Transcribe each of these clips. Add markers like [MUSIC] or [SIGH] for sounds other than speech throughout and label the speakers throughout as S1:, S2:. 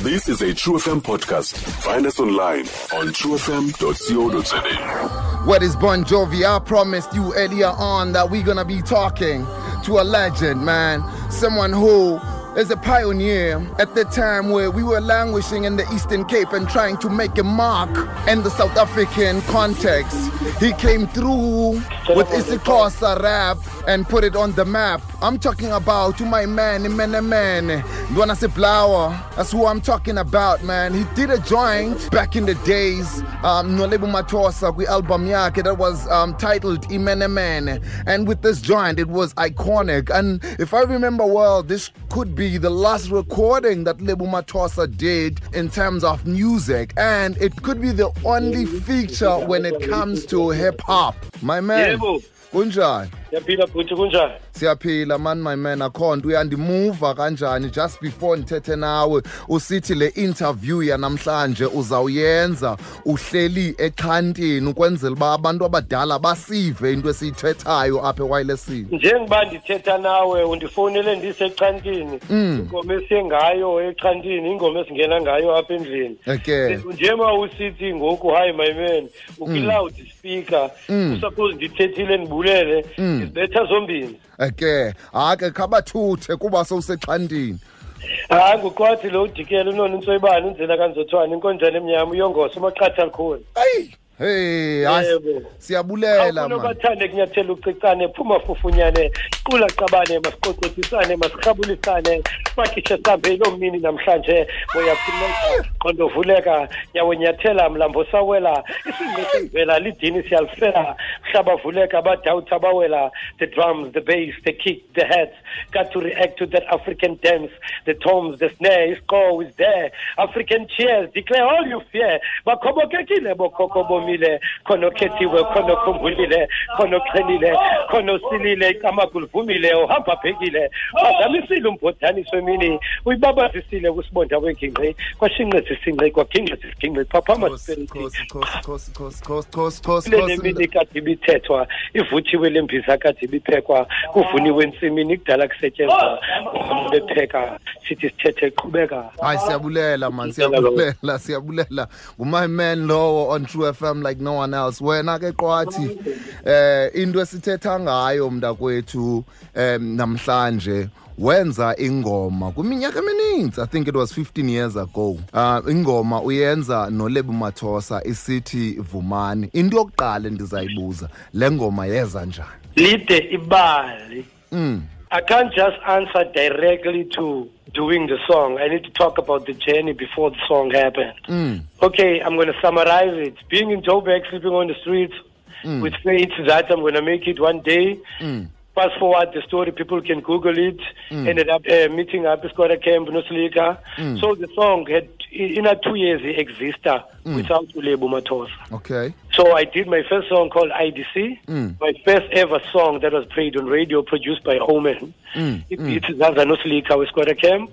S1: This is a True FM podcast. Find us online on truefm.co.za.
S2: What is Bon Jovi? I promised you earlier on that we're gonna be talking to a legend, man. Someone who is a pioneer at the time where we were languishing in the Eastern Cape and trying to make a mark in the South African context. He came through with Isikosa rap and put it on the map. I'm talking about to my man, Imenemen, Dwanase Blower. That's who I'm talking about, man. He did a joint back in the days, um, Nolebu Matosa, kwi album yakhe that was um, titled Imenemen. And with this joint, it was iconic. And if I remember well, this could be the last recording that Lebu Matosa did in terms of music. And it could be the only feature when it comes to hip hop. My man.
S3: Yebo.
S2: Kunjani?
S3: yaphila bhuti kunjani
S2: siyaphila mani my man akho nto uyandimuva kanjani just before ndithethe nawe usithi le interview yanamhlanje uzawuyenza uhleli exhantini ukwenzela uba abantu abadala basive into esiyithethayo apha ewayilesini
S3: njengoba ndithetha nawe undifowunele ndisechantini ingoma esengayo echantini ingoma esingena ngayo apha endlini
S2: Okay.
S3: njema usithi ngoku hayi my man ukwi-loud speaker usuppose ndithethile ndibulele ndizibetha zombini
S2: eke hayi ke khabathuthe kuba sowusexhantini
S3: hayi nguqwathi lo udikele unona intsoyibane unzela kanzothwane inkonjane emnyama uyongosa umaqhathi alikhulu
S2: eyi hey hayi
S3: Yebo.
S2: siyabulela man
S3: unobathande kunyathela ucicane phuma fufunyane qula qabane masiqoqothisane masirhabulisane makhitshe sambe yiloo mini namhlanje moyaphileka qondo vuleka nyawonyathela mlambo sawela isinqe sevela lidini siyalifela mhlaba vuleka badawuthi abawela the drums the bass the kick the heads got to react to that african dance the toms the snare isco is there african cheers declare all you fear bakhobokekile bokhokho bomile khona okhethiwe khona okhumbulile khona oqhelile khona osilile iqamagu livumile uhamba bhekile bazamisile umbhodaniso emini uyibabazisile kusibonda wengingqi kwashinqezisinqi kwaginqezisinqi phaphama
S2: Khosi, khosi, khosi, khosi, khosi, khosi, khosi, khosi,
S3: kule mini
S2: khosi.
S3: kade ibithethwa ivuthiwe lembiza kade ibiphekwa kuvuniwe entsimini kudala kusetyenzwa abantu bepheka sithi sithethe qhubeka
S2: hayi siyabulela man
S3: Ngicela kakhulu.
S2: siyabulela siyabulela ngumy man lowo on true fm like no one else wena ke qwathi eh into esithetha ngayo mntakwethu em namhlanje wenza ingoma kuminyaka emininzi i think it was 15 years ago uh, ingoma uyenza nolebu mathosa isithi vumani into yokuqala ndizayibuza le ngoma yeza njani
S3: lide ibali
S2: mm.
S3: I can't just answer directly to doing the song. I need to talk about the journey before the song happened. Okay, I'm going to summarize it. Being in Joburg, sleeping on the streets, with faith that I'm going to make it one day. Fast forward the story, people can Google it. Ended up uh, meeting up at Squatter Camp, Noslika. So the song had, in in a two years, it existed without Ulebo Matos.
S2: okay
S3: So I did my first song called IDC, my first ever song that was played on radio, produced by Omen. It, It's Zaza Noslika with Squatter Camp.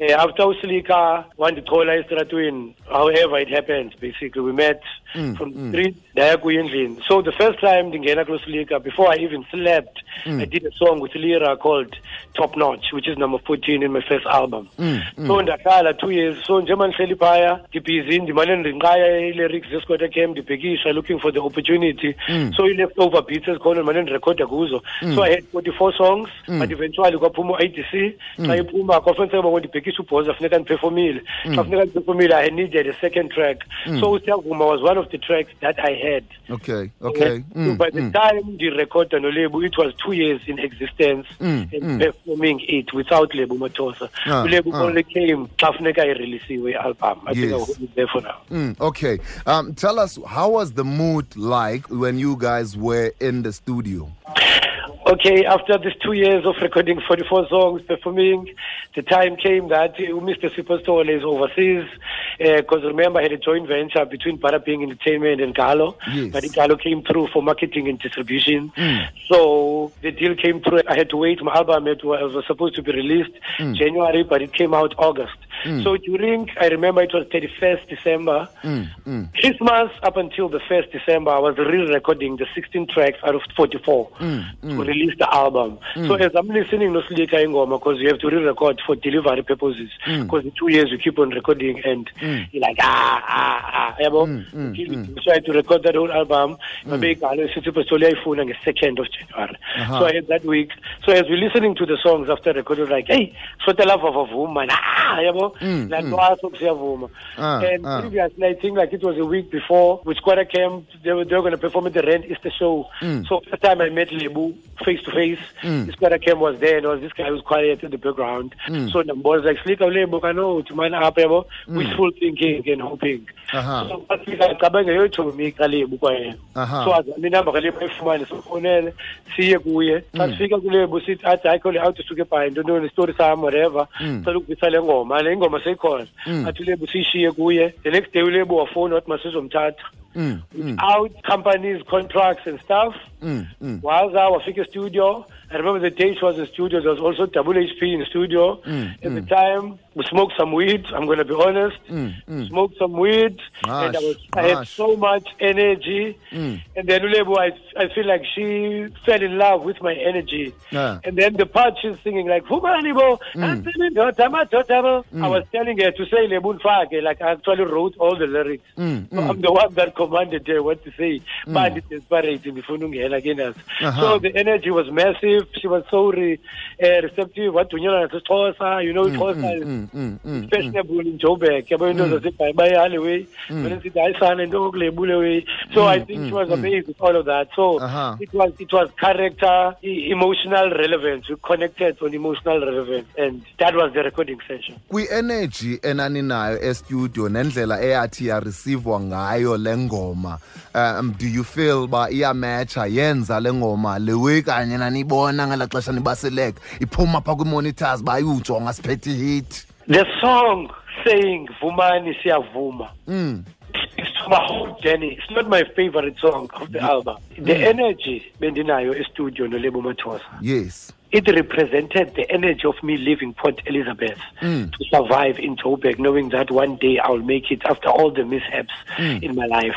S3: Uh, after Uslika, one the taller is Ratwin. However, it happened, basically. We met from the street, Dayakuyendlin. So the first time, Dingena Uslika, before I even slept, I did a song with Lira called Top Notch, which is number 14 in my first album. So ndakhala two years. So njengoba ndihleli phaya, ndibhizi, ndimane ndinqaya i-lyrics zesikota camp, ndibhekisha, looking for the opportunity. So i-leftover beats ezikhona ndimane ndirekhoda kuzo. So I had 44 songs, but eventually kwaphuma u-IDC. Xa iphuma, kwafuniseka uba ngondibhekisha ubhoza, funeka ndiphefomile. Xa funeka ndiphefomile, I needed a second track. So usiyavuma was one of the tracks that I had.
S2: okay okay
S3: So
S2: mm.
S3: by the time the record and label, it was two years in existence and performing it without Lebu Matosa.
S2: Mm, Ah,
S3: The label
S2: ah.
S3: only came Tafneka I released the album. I think I'll
S2: Yes.
S3: hold it there for now.
S2: Mm, okay. Um, tell us, how was the mood like when you guys were in the studio?
S3: Okay, after these two years of recording 44 songs, performing, the time came that uh, Mr. Superstore is overseas. Because remember, I had a joint venture between Paraping Entertainment and Galo.
S2: Yes.
S3: But Galo came through for marketing and distribution. So the deal came through. I had to wait. My album had, was supposed to be released January, but it came out August. So during, I remember it was 31st December, Christmas up until the 1st December, I was re-recording the 16 tracks out of 44
S2: Mm,
S3: to release the album. So as I'm listening to Slika Ingoma, because you have to re-record for delivery purposes,
S2: Mm.
S3: because in two years you keep on recording and you're like, ah, ah, ah, yabo.
S2: Mm,
S3: You try to record that whole album, babeyigale sithi petroli ayifuna nge-second of January. So I had that week. So as we're listening to the songs after recording, like, hey, sote lava vavuma, ah, yabo, nantwaso siyavuma.
S2: Mm, Ah,
S3: And
S2: ah.
S3: previously, I think like it was a week before, with Squatter Camp, they were, they were going to perform at the Rent Easter show. So first time I met Lebu face to face, the Squatter Camp was there, and there was this guy who was quiet in the background. So the boys like, Slick, Lebu, I know, to mine up, yabo, wishful thinking and hoping.
S2: Aha.
S3: So bafika ngicabanga yojomi iqalebu kwayena
S2: Aha.
S3: so azama inamba kalebu ayifumane sifonele siye kuye
S2: Mm.
S3: xa sifika kulebu sithi athi hayi khole awuthi suke ebhayi ntontoni isitori sam whatever
S2: Mm.
S3: cela ukuvisa le ngoma le ingoma seyikhona athi ulebu siyishiye kuye the next day ulebu wafona wathi masizomthatha
S2: Mm, mm,
S3: out companies contracts and stuff
S2: mm, mm.
S3: waza wafika studio i remember the day she was in studio there was also double hp in studio
S2: Mm,
S3: at the time we smoked some weed i'm going to be honest
S2: Mm,
S3: smoked some weed and I, was, I had
S2: Nice,
S3: so much energy and then Ulebu, I, I feel like she fell in love with my energy
S2: Yeah.
S3: and then the part she's singing like Fumanibo,
S2: Mm.
S3: antidote, amatote." I was telling her to say Lebun Fage like I actually wrote all the lyrics
S2: Mm,
S3: so I'm the one that commanded her what to say but it desperate ngifuna ungena kinazo so the energy was massive she was so re, uh, receptive wadunyana nasixhosa you know Xhosa is
S2: mm, mm, mm.
S3: fashionable in Joburg yabo into zaseBhayi bayihallway
S2: Mm.
S3: wena sithi hayi sana into okulebule way so I think she was
S2: mm.
S3: amazed with all of that so
S2: Uh-huh.
S3: it was it was character e- emotional relevance we connected on emotional relevance and that was the recording session
S2: kwi-energy enaninayo estudio nendlela eyathi yareceivewa ngayo le ngoma um, do you feel uba iyametsha yenza le ngoma lewe kanye nanibona ngelaa xesha nibaseleka iphuma phaa kwii-monitors uba iwujonga siphethe ihit
S3: the song saying Vumani siyavuma It's my whole journey. It's not my favorite song of the album. The energy bendinayo estudio nolebo Mathosa.
S2: yes
S3: it represented the energy of me leaving Port Elizabeth to survive in Joburg, knowing that one day I'll make it after all the mishaps in my life.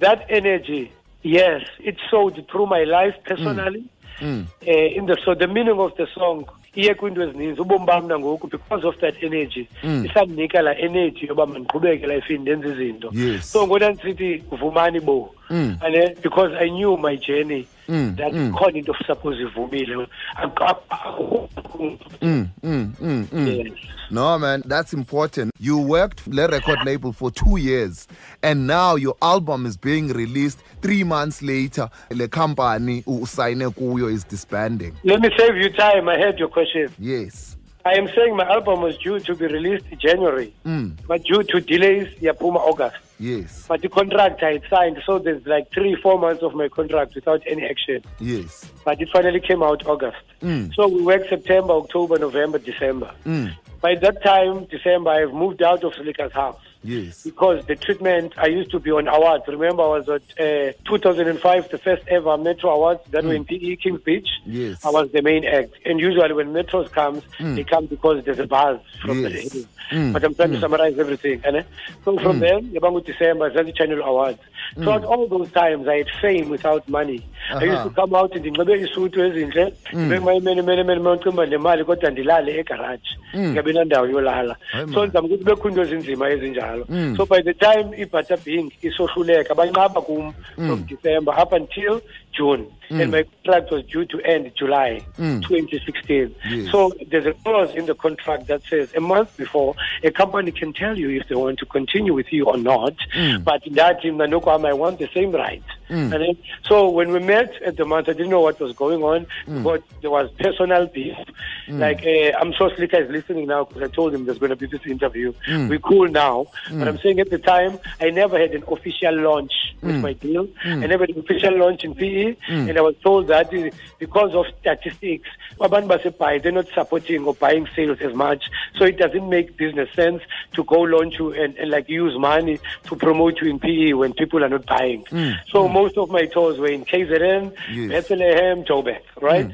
S3: That energy, yes, it showed through my life personally.
S2: Mm.
S3: Uh, in the so the meaning of the song iye kwiinto ezininzi ubomi bam nangoku because of that energy
S2: Mm.
S3: isandinika laa energy yoba mandiqhubeke lifini ndenze izinto
S2: Yes. Mm.
S3: so ngoku ndandisithi vumani bo ane because i knew my journey that khona into suppose ivumile Ak- ak-
S2: mm, mm, mm, mm.
S3: Yes.
S2: No, man, that's important. You worked for the record label for two years, and now your album is being released three months later. The company usayine kuyo is disbanding.
S3: let me save you time i heard your question
S2: Yes.
S3: i am saying my album was due to be released in january but due to delays yaphuma august
S2: Yes.
S3: but the contract i had signed so there's like three four months of my contract without any action
S2: Yes.
S3: but it finally came out August. So we worked September, October, November, December.
S2: Hmm. Mm,
S3: By that time, December, I've moved out of Silica's house
S2: Yes.
S3: because the treatment, I used to be on awards. Remember, I was at uh, 2005, the first ever Metro Awards that were in PE, King's Beach.
S2: Yes.
S3: I was the main act. And usually when Metros comes, they come because there's a buzz from
S2: Yes.
S3: the But I'm trying to summarize everything. And, so from then, Yabangu December, Zazi Channel Awards. Throughout all those times, I had fame without money. I used to
S2: Aha.
S3: come out and ndinxibe isutu ezintle ndibemayimenimenimeni manximba nemali kodwa ndilale egaraji ndingabi nandawo yolala
S2: Hayi
S3: so
S2: man.
S3: ndizama ukuthi bekho into ezinzima ezinjalo so by the time i-butterbeing isohluleka banqaba kum from december up until june and my contract was due to end july 2016
S2: Yes.
S3: so there's a clause in the contract that says a month before a company can tell you if they want to continue with you or not but in that in Nanokwam, i want the same right and then, so when we met at the month i didn't know what was going on but there was personal beef like uh, i'm sure slicker is listening now because i told him there's going to be this interview we're cool now but i'm
S2: Mm.
S3: saying at the time i never had an official launch with my deal i never had an official launch in pe TV, and I was told that uh, because of statistics, abantu baseBhayi, they're not supporting or buying sales as much. So it doesn't make business sense to go launch you and, and like use money to promote you in PE when people are not buying. So most of my tours were in KZN,
S2: Mm. Yes. Mm.
S3: Bethlehem, Joburg, right?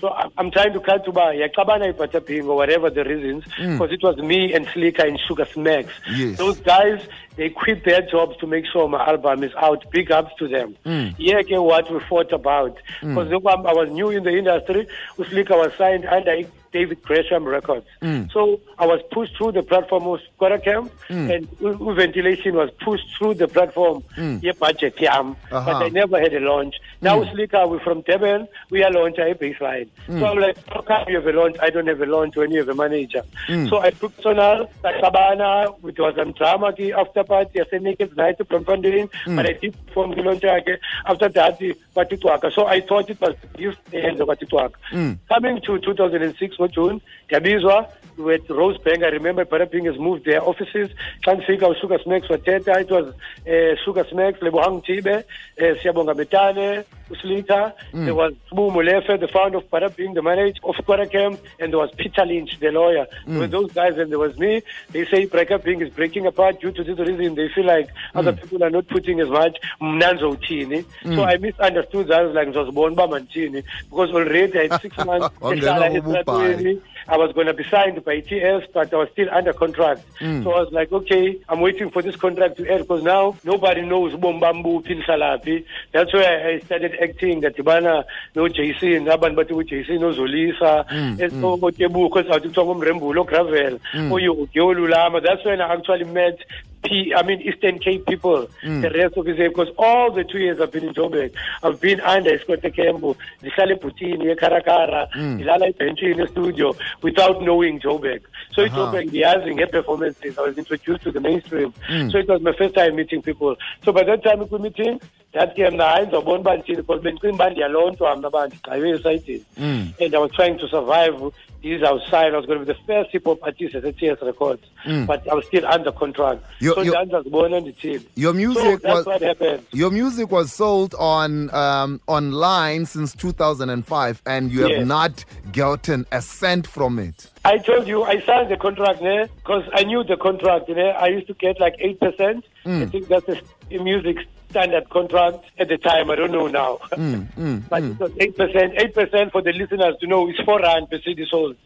S3: So I- I'm trying to cut to buy Yakabana Ipataping or whatever the reasons, because it was me and Slicker and Sugar Smacks.
S2: Mm. Yes.
S3: Those guys, they quit their jobs to make sure my album is out. Big ups to them. Yeah, okay, what we fought about. Because I was new in the industry, Slicker was signed under David Gresham Records. So I was pushed through the platform of Squatter Camp, and U- U- Ventilation was pushed through the platform. Yeah, budget, yeah. um, But
S2: Uh-huh.
S3: I never had a launch. Now, Slicker, we're from Durban, we are launch, I baseline. So I'm like, how come you have a launch? I don't have a launch when you have a manager. So I took Sonal, Sabana, which was some drama ki after party, I said, naked night from Pandin, but I did from the launch again. After that, the Batituaka. So I thought it was gift and the Batituaka. Coming to 2006, for June, Kabizwa, with Rosebank, I remember Paraping has moved their offices. Tanfika with Sugar Smacks for Teta. It was uh, Sugar Smacks, Lebohang Tibe, uh, Siabonga Betane, Uslita. There was Mu Mulefe, the founder of Paraping, the manager of Kwarakem, and there was Peter Lynch, the lawyer. There were those guys, and there was me. They say Paraping is breaking apart due to this reason. They feel like other people are not putting as much. Mnanzo Tini. So I misunderstood that. I was like, it was Bonba Mantini. Because already I had six months.
S2: On the
S3: ehlala
S2: level of uBhayi.
S3: estratweni. I was going to be signed by TS, but I was still under contract. So I was like, okay, I'm waiting for this contract to end because now nobody knows Bombambu, Pinsalapi. That's where I started acting that Ibana, no JC, and Aban, but JC, no Zolisa, and so Otebu, because I was talking Rembulo, Gravel, Oyo, Okeolu, Lama. That's when I actually met. P, I mean Eastern Cape people, the rest of his because all the two years I've been in Joburg, I've been under Scott Campbell, the Sally Putini, Karakara, the Lala in the studio without knowing Joburg. So it was like the asking her performances. I was introduced to the mainstream. So it was my first time meeting people. So by that time we could meeting, that came the hands of one band because when Queen Band alone to Amnaband, I was excited. And I was trying to survive this outside. I was gonna be the first hip hop artist at ATS Records. But I was still under contract.
S2: Your-
S3: so
S2: your-
S3: that was born on the team.
S2: Your music
S3: so that's
S2: was-
S3: what happened.
S2: Your music was sold on um, online since 2005, and you have
S3: Yes.
S2: not gotten a cent from it.
S3: I told you I signed the contract there because I knew the contract. You know, I used to get like eight percent. I think that's a s- a music standard contract at the time. I don't know now, [LAUGHS] but it was eight percent. Eight percent for the listeners to know is four rand per CD sold.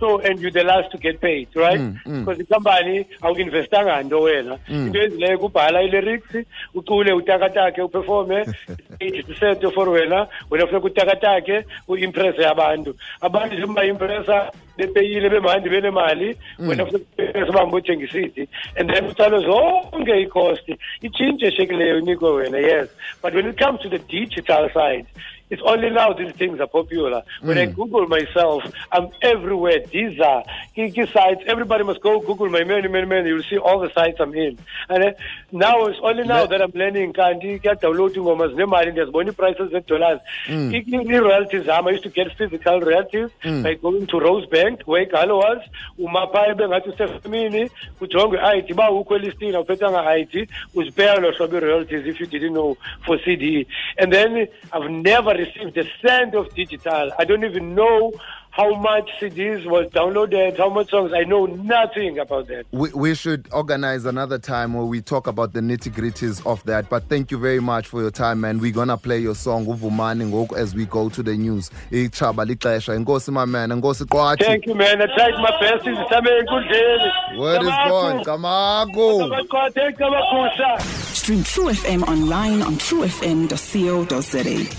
S3: So and you're the last to get paid, right? Because the company our investor and wena into ezileyo kubhala i-lyrics ucule utakatakhe uperforme eighty percent for wena wena funeka utakatakhe uimpresse abantu abantu njengoba impressa bepeyile bemandi benemali wena funeka bamba uthengisa isithi and then utsale zonke icost itshintshe eshekileyo inikwe wena yes but when it comes to the digital side It's only now these things are popular. When I Google myself, I'm everywhere. These are geeky sites. Everybody must go Google my many, many, many. You'll see all the sites I'm in. And uh, now it's only now that I'm learning. Can't get downloading almost no money. There's money prices and dollars. Ignorant royalties. um, I used to get physical royalties by going to Rosebank, where Galo was. Umapai bengathi usefamini ujonge IT ba ukho listing awuphetha nga IT uzibheka lo hlobo royalties if you didn't know for CD and then I've never received a cent of digital I don't even know how much CDs was downloaded how much songs I know nothing about that
S2: We, we should organize another time where we talk about the nitty gritties of that. But thank you very much for your time, man. We're gonna play your song Uvumani Ngoku as we go to the news. Ichaba lixesha. Inkosi my man. Inkosi Kwachi.
S3: thank you man I tried my best ndizame enkundleni
S2: Word is born. Kamago.
S3: Thank you.
S4: Stream True FM online on truefm.co.za.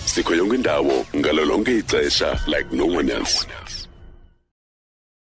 S1: sikho yonke indawo ngalo lonke ixesha like no one else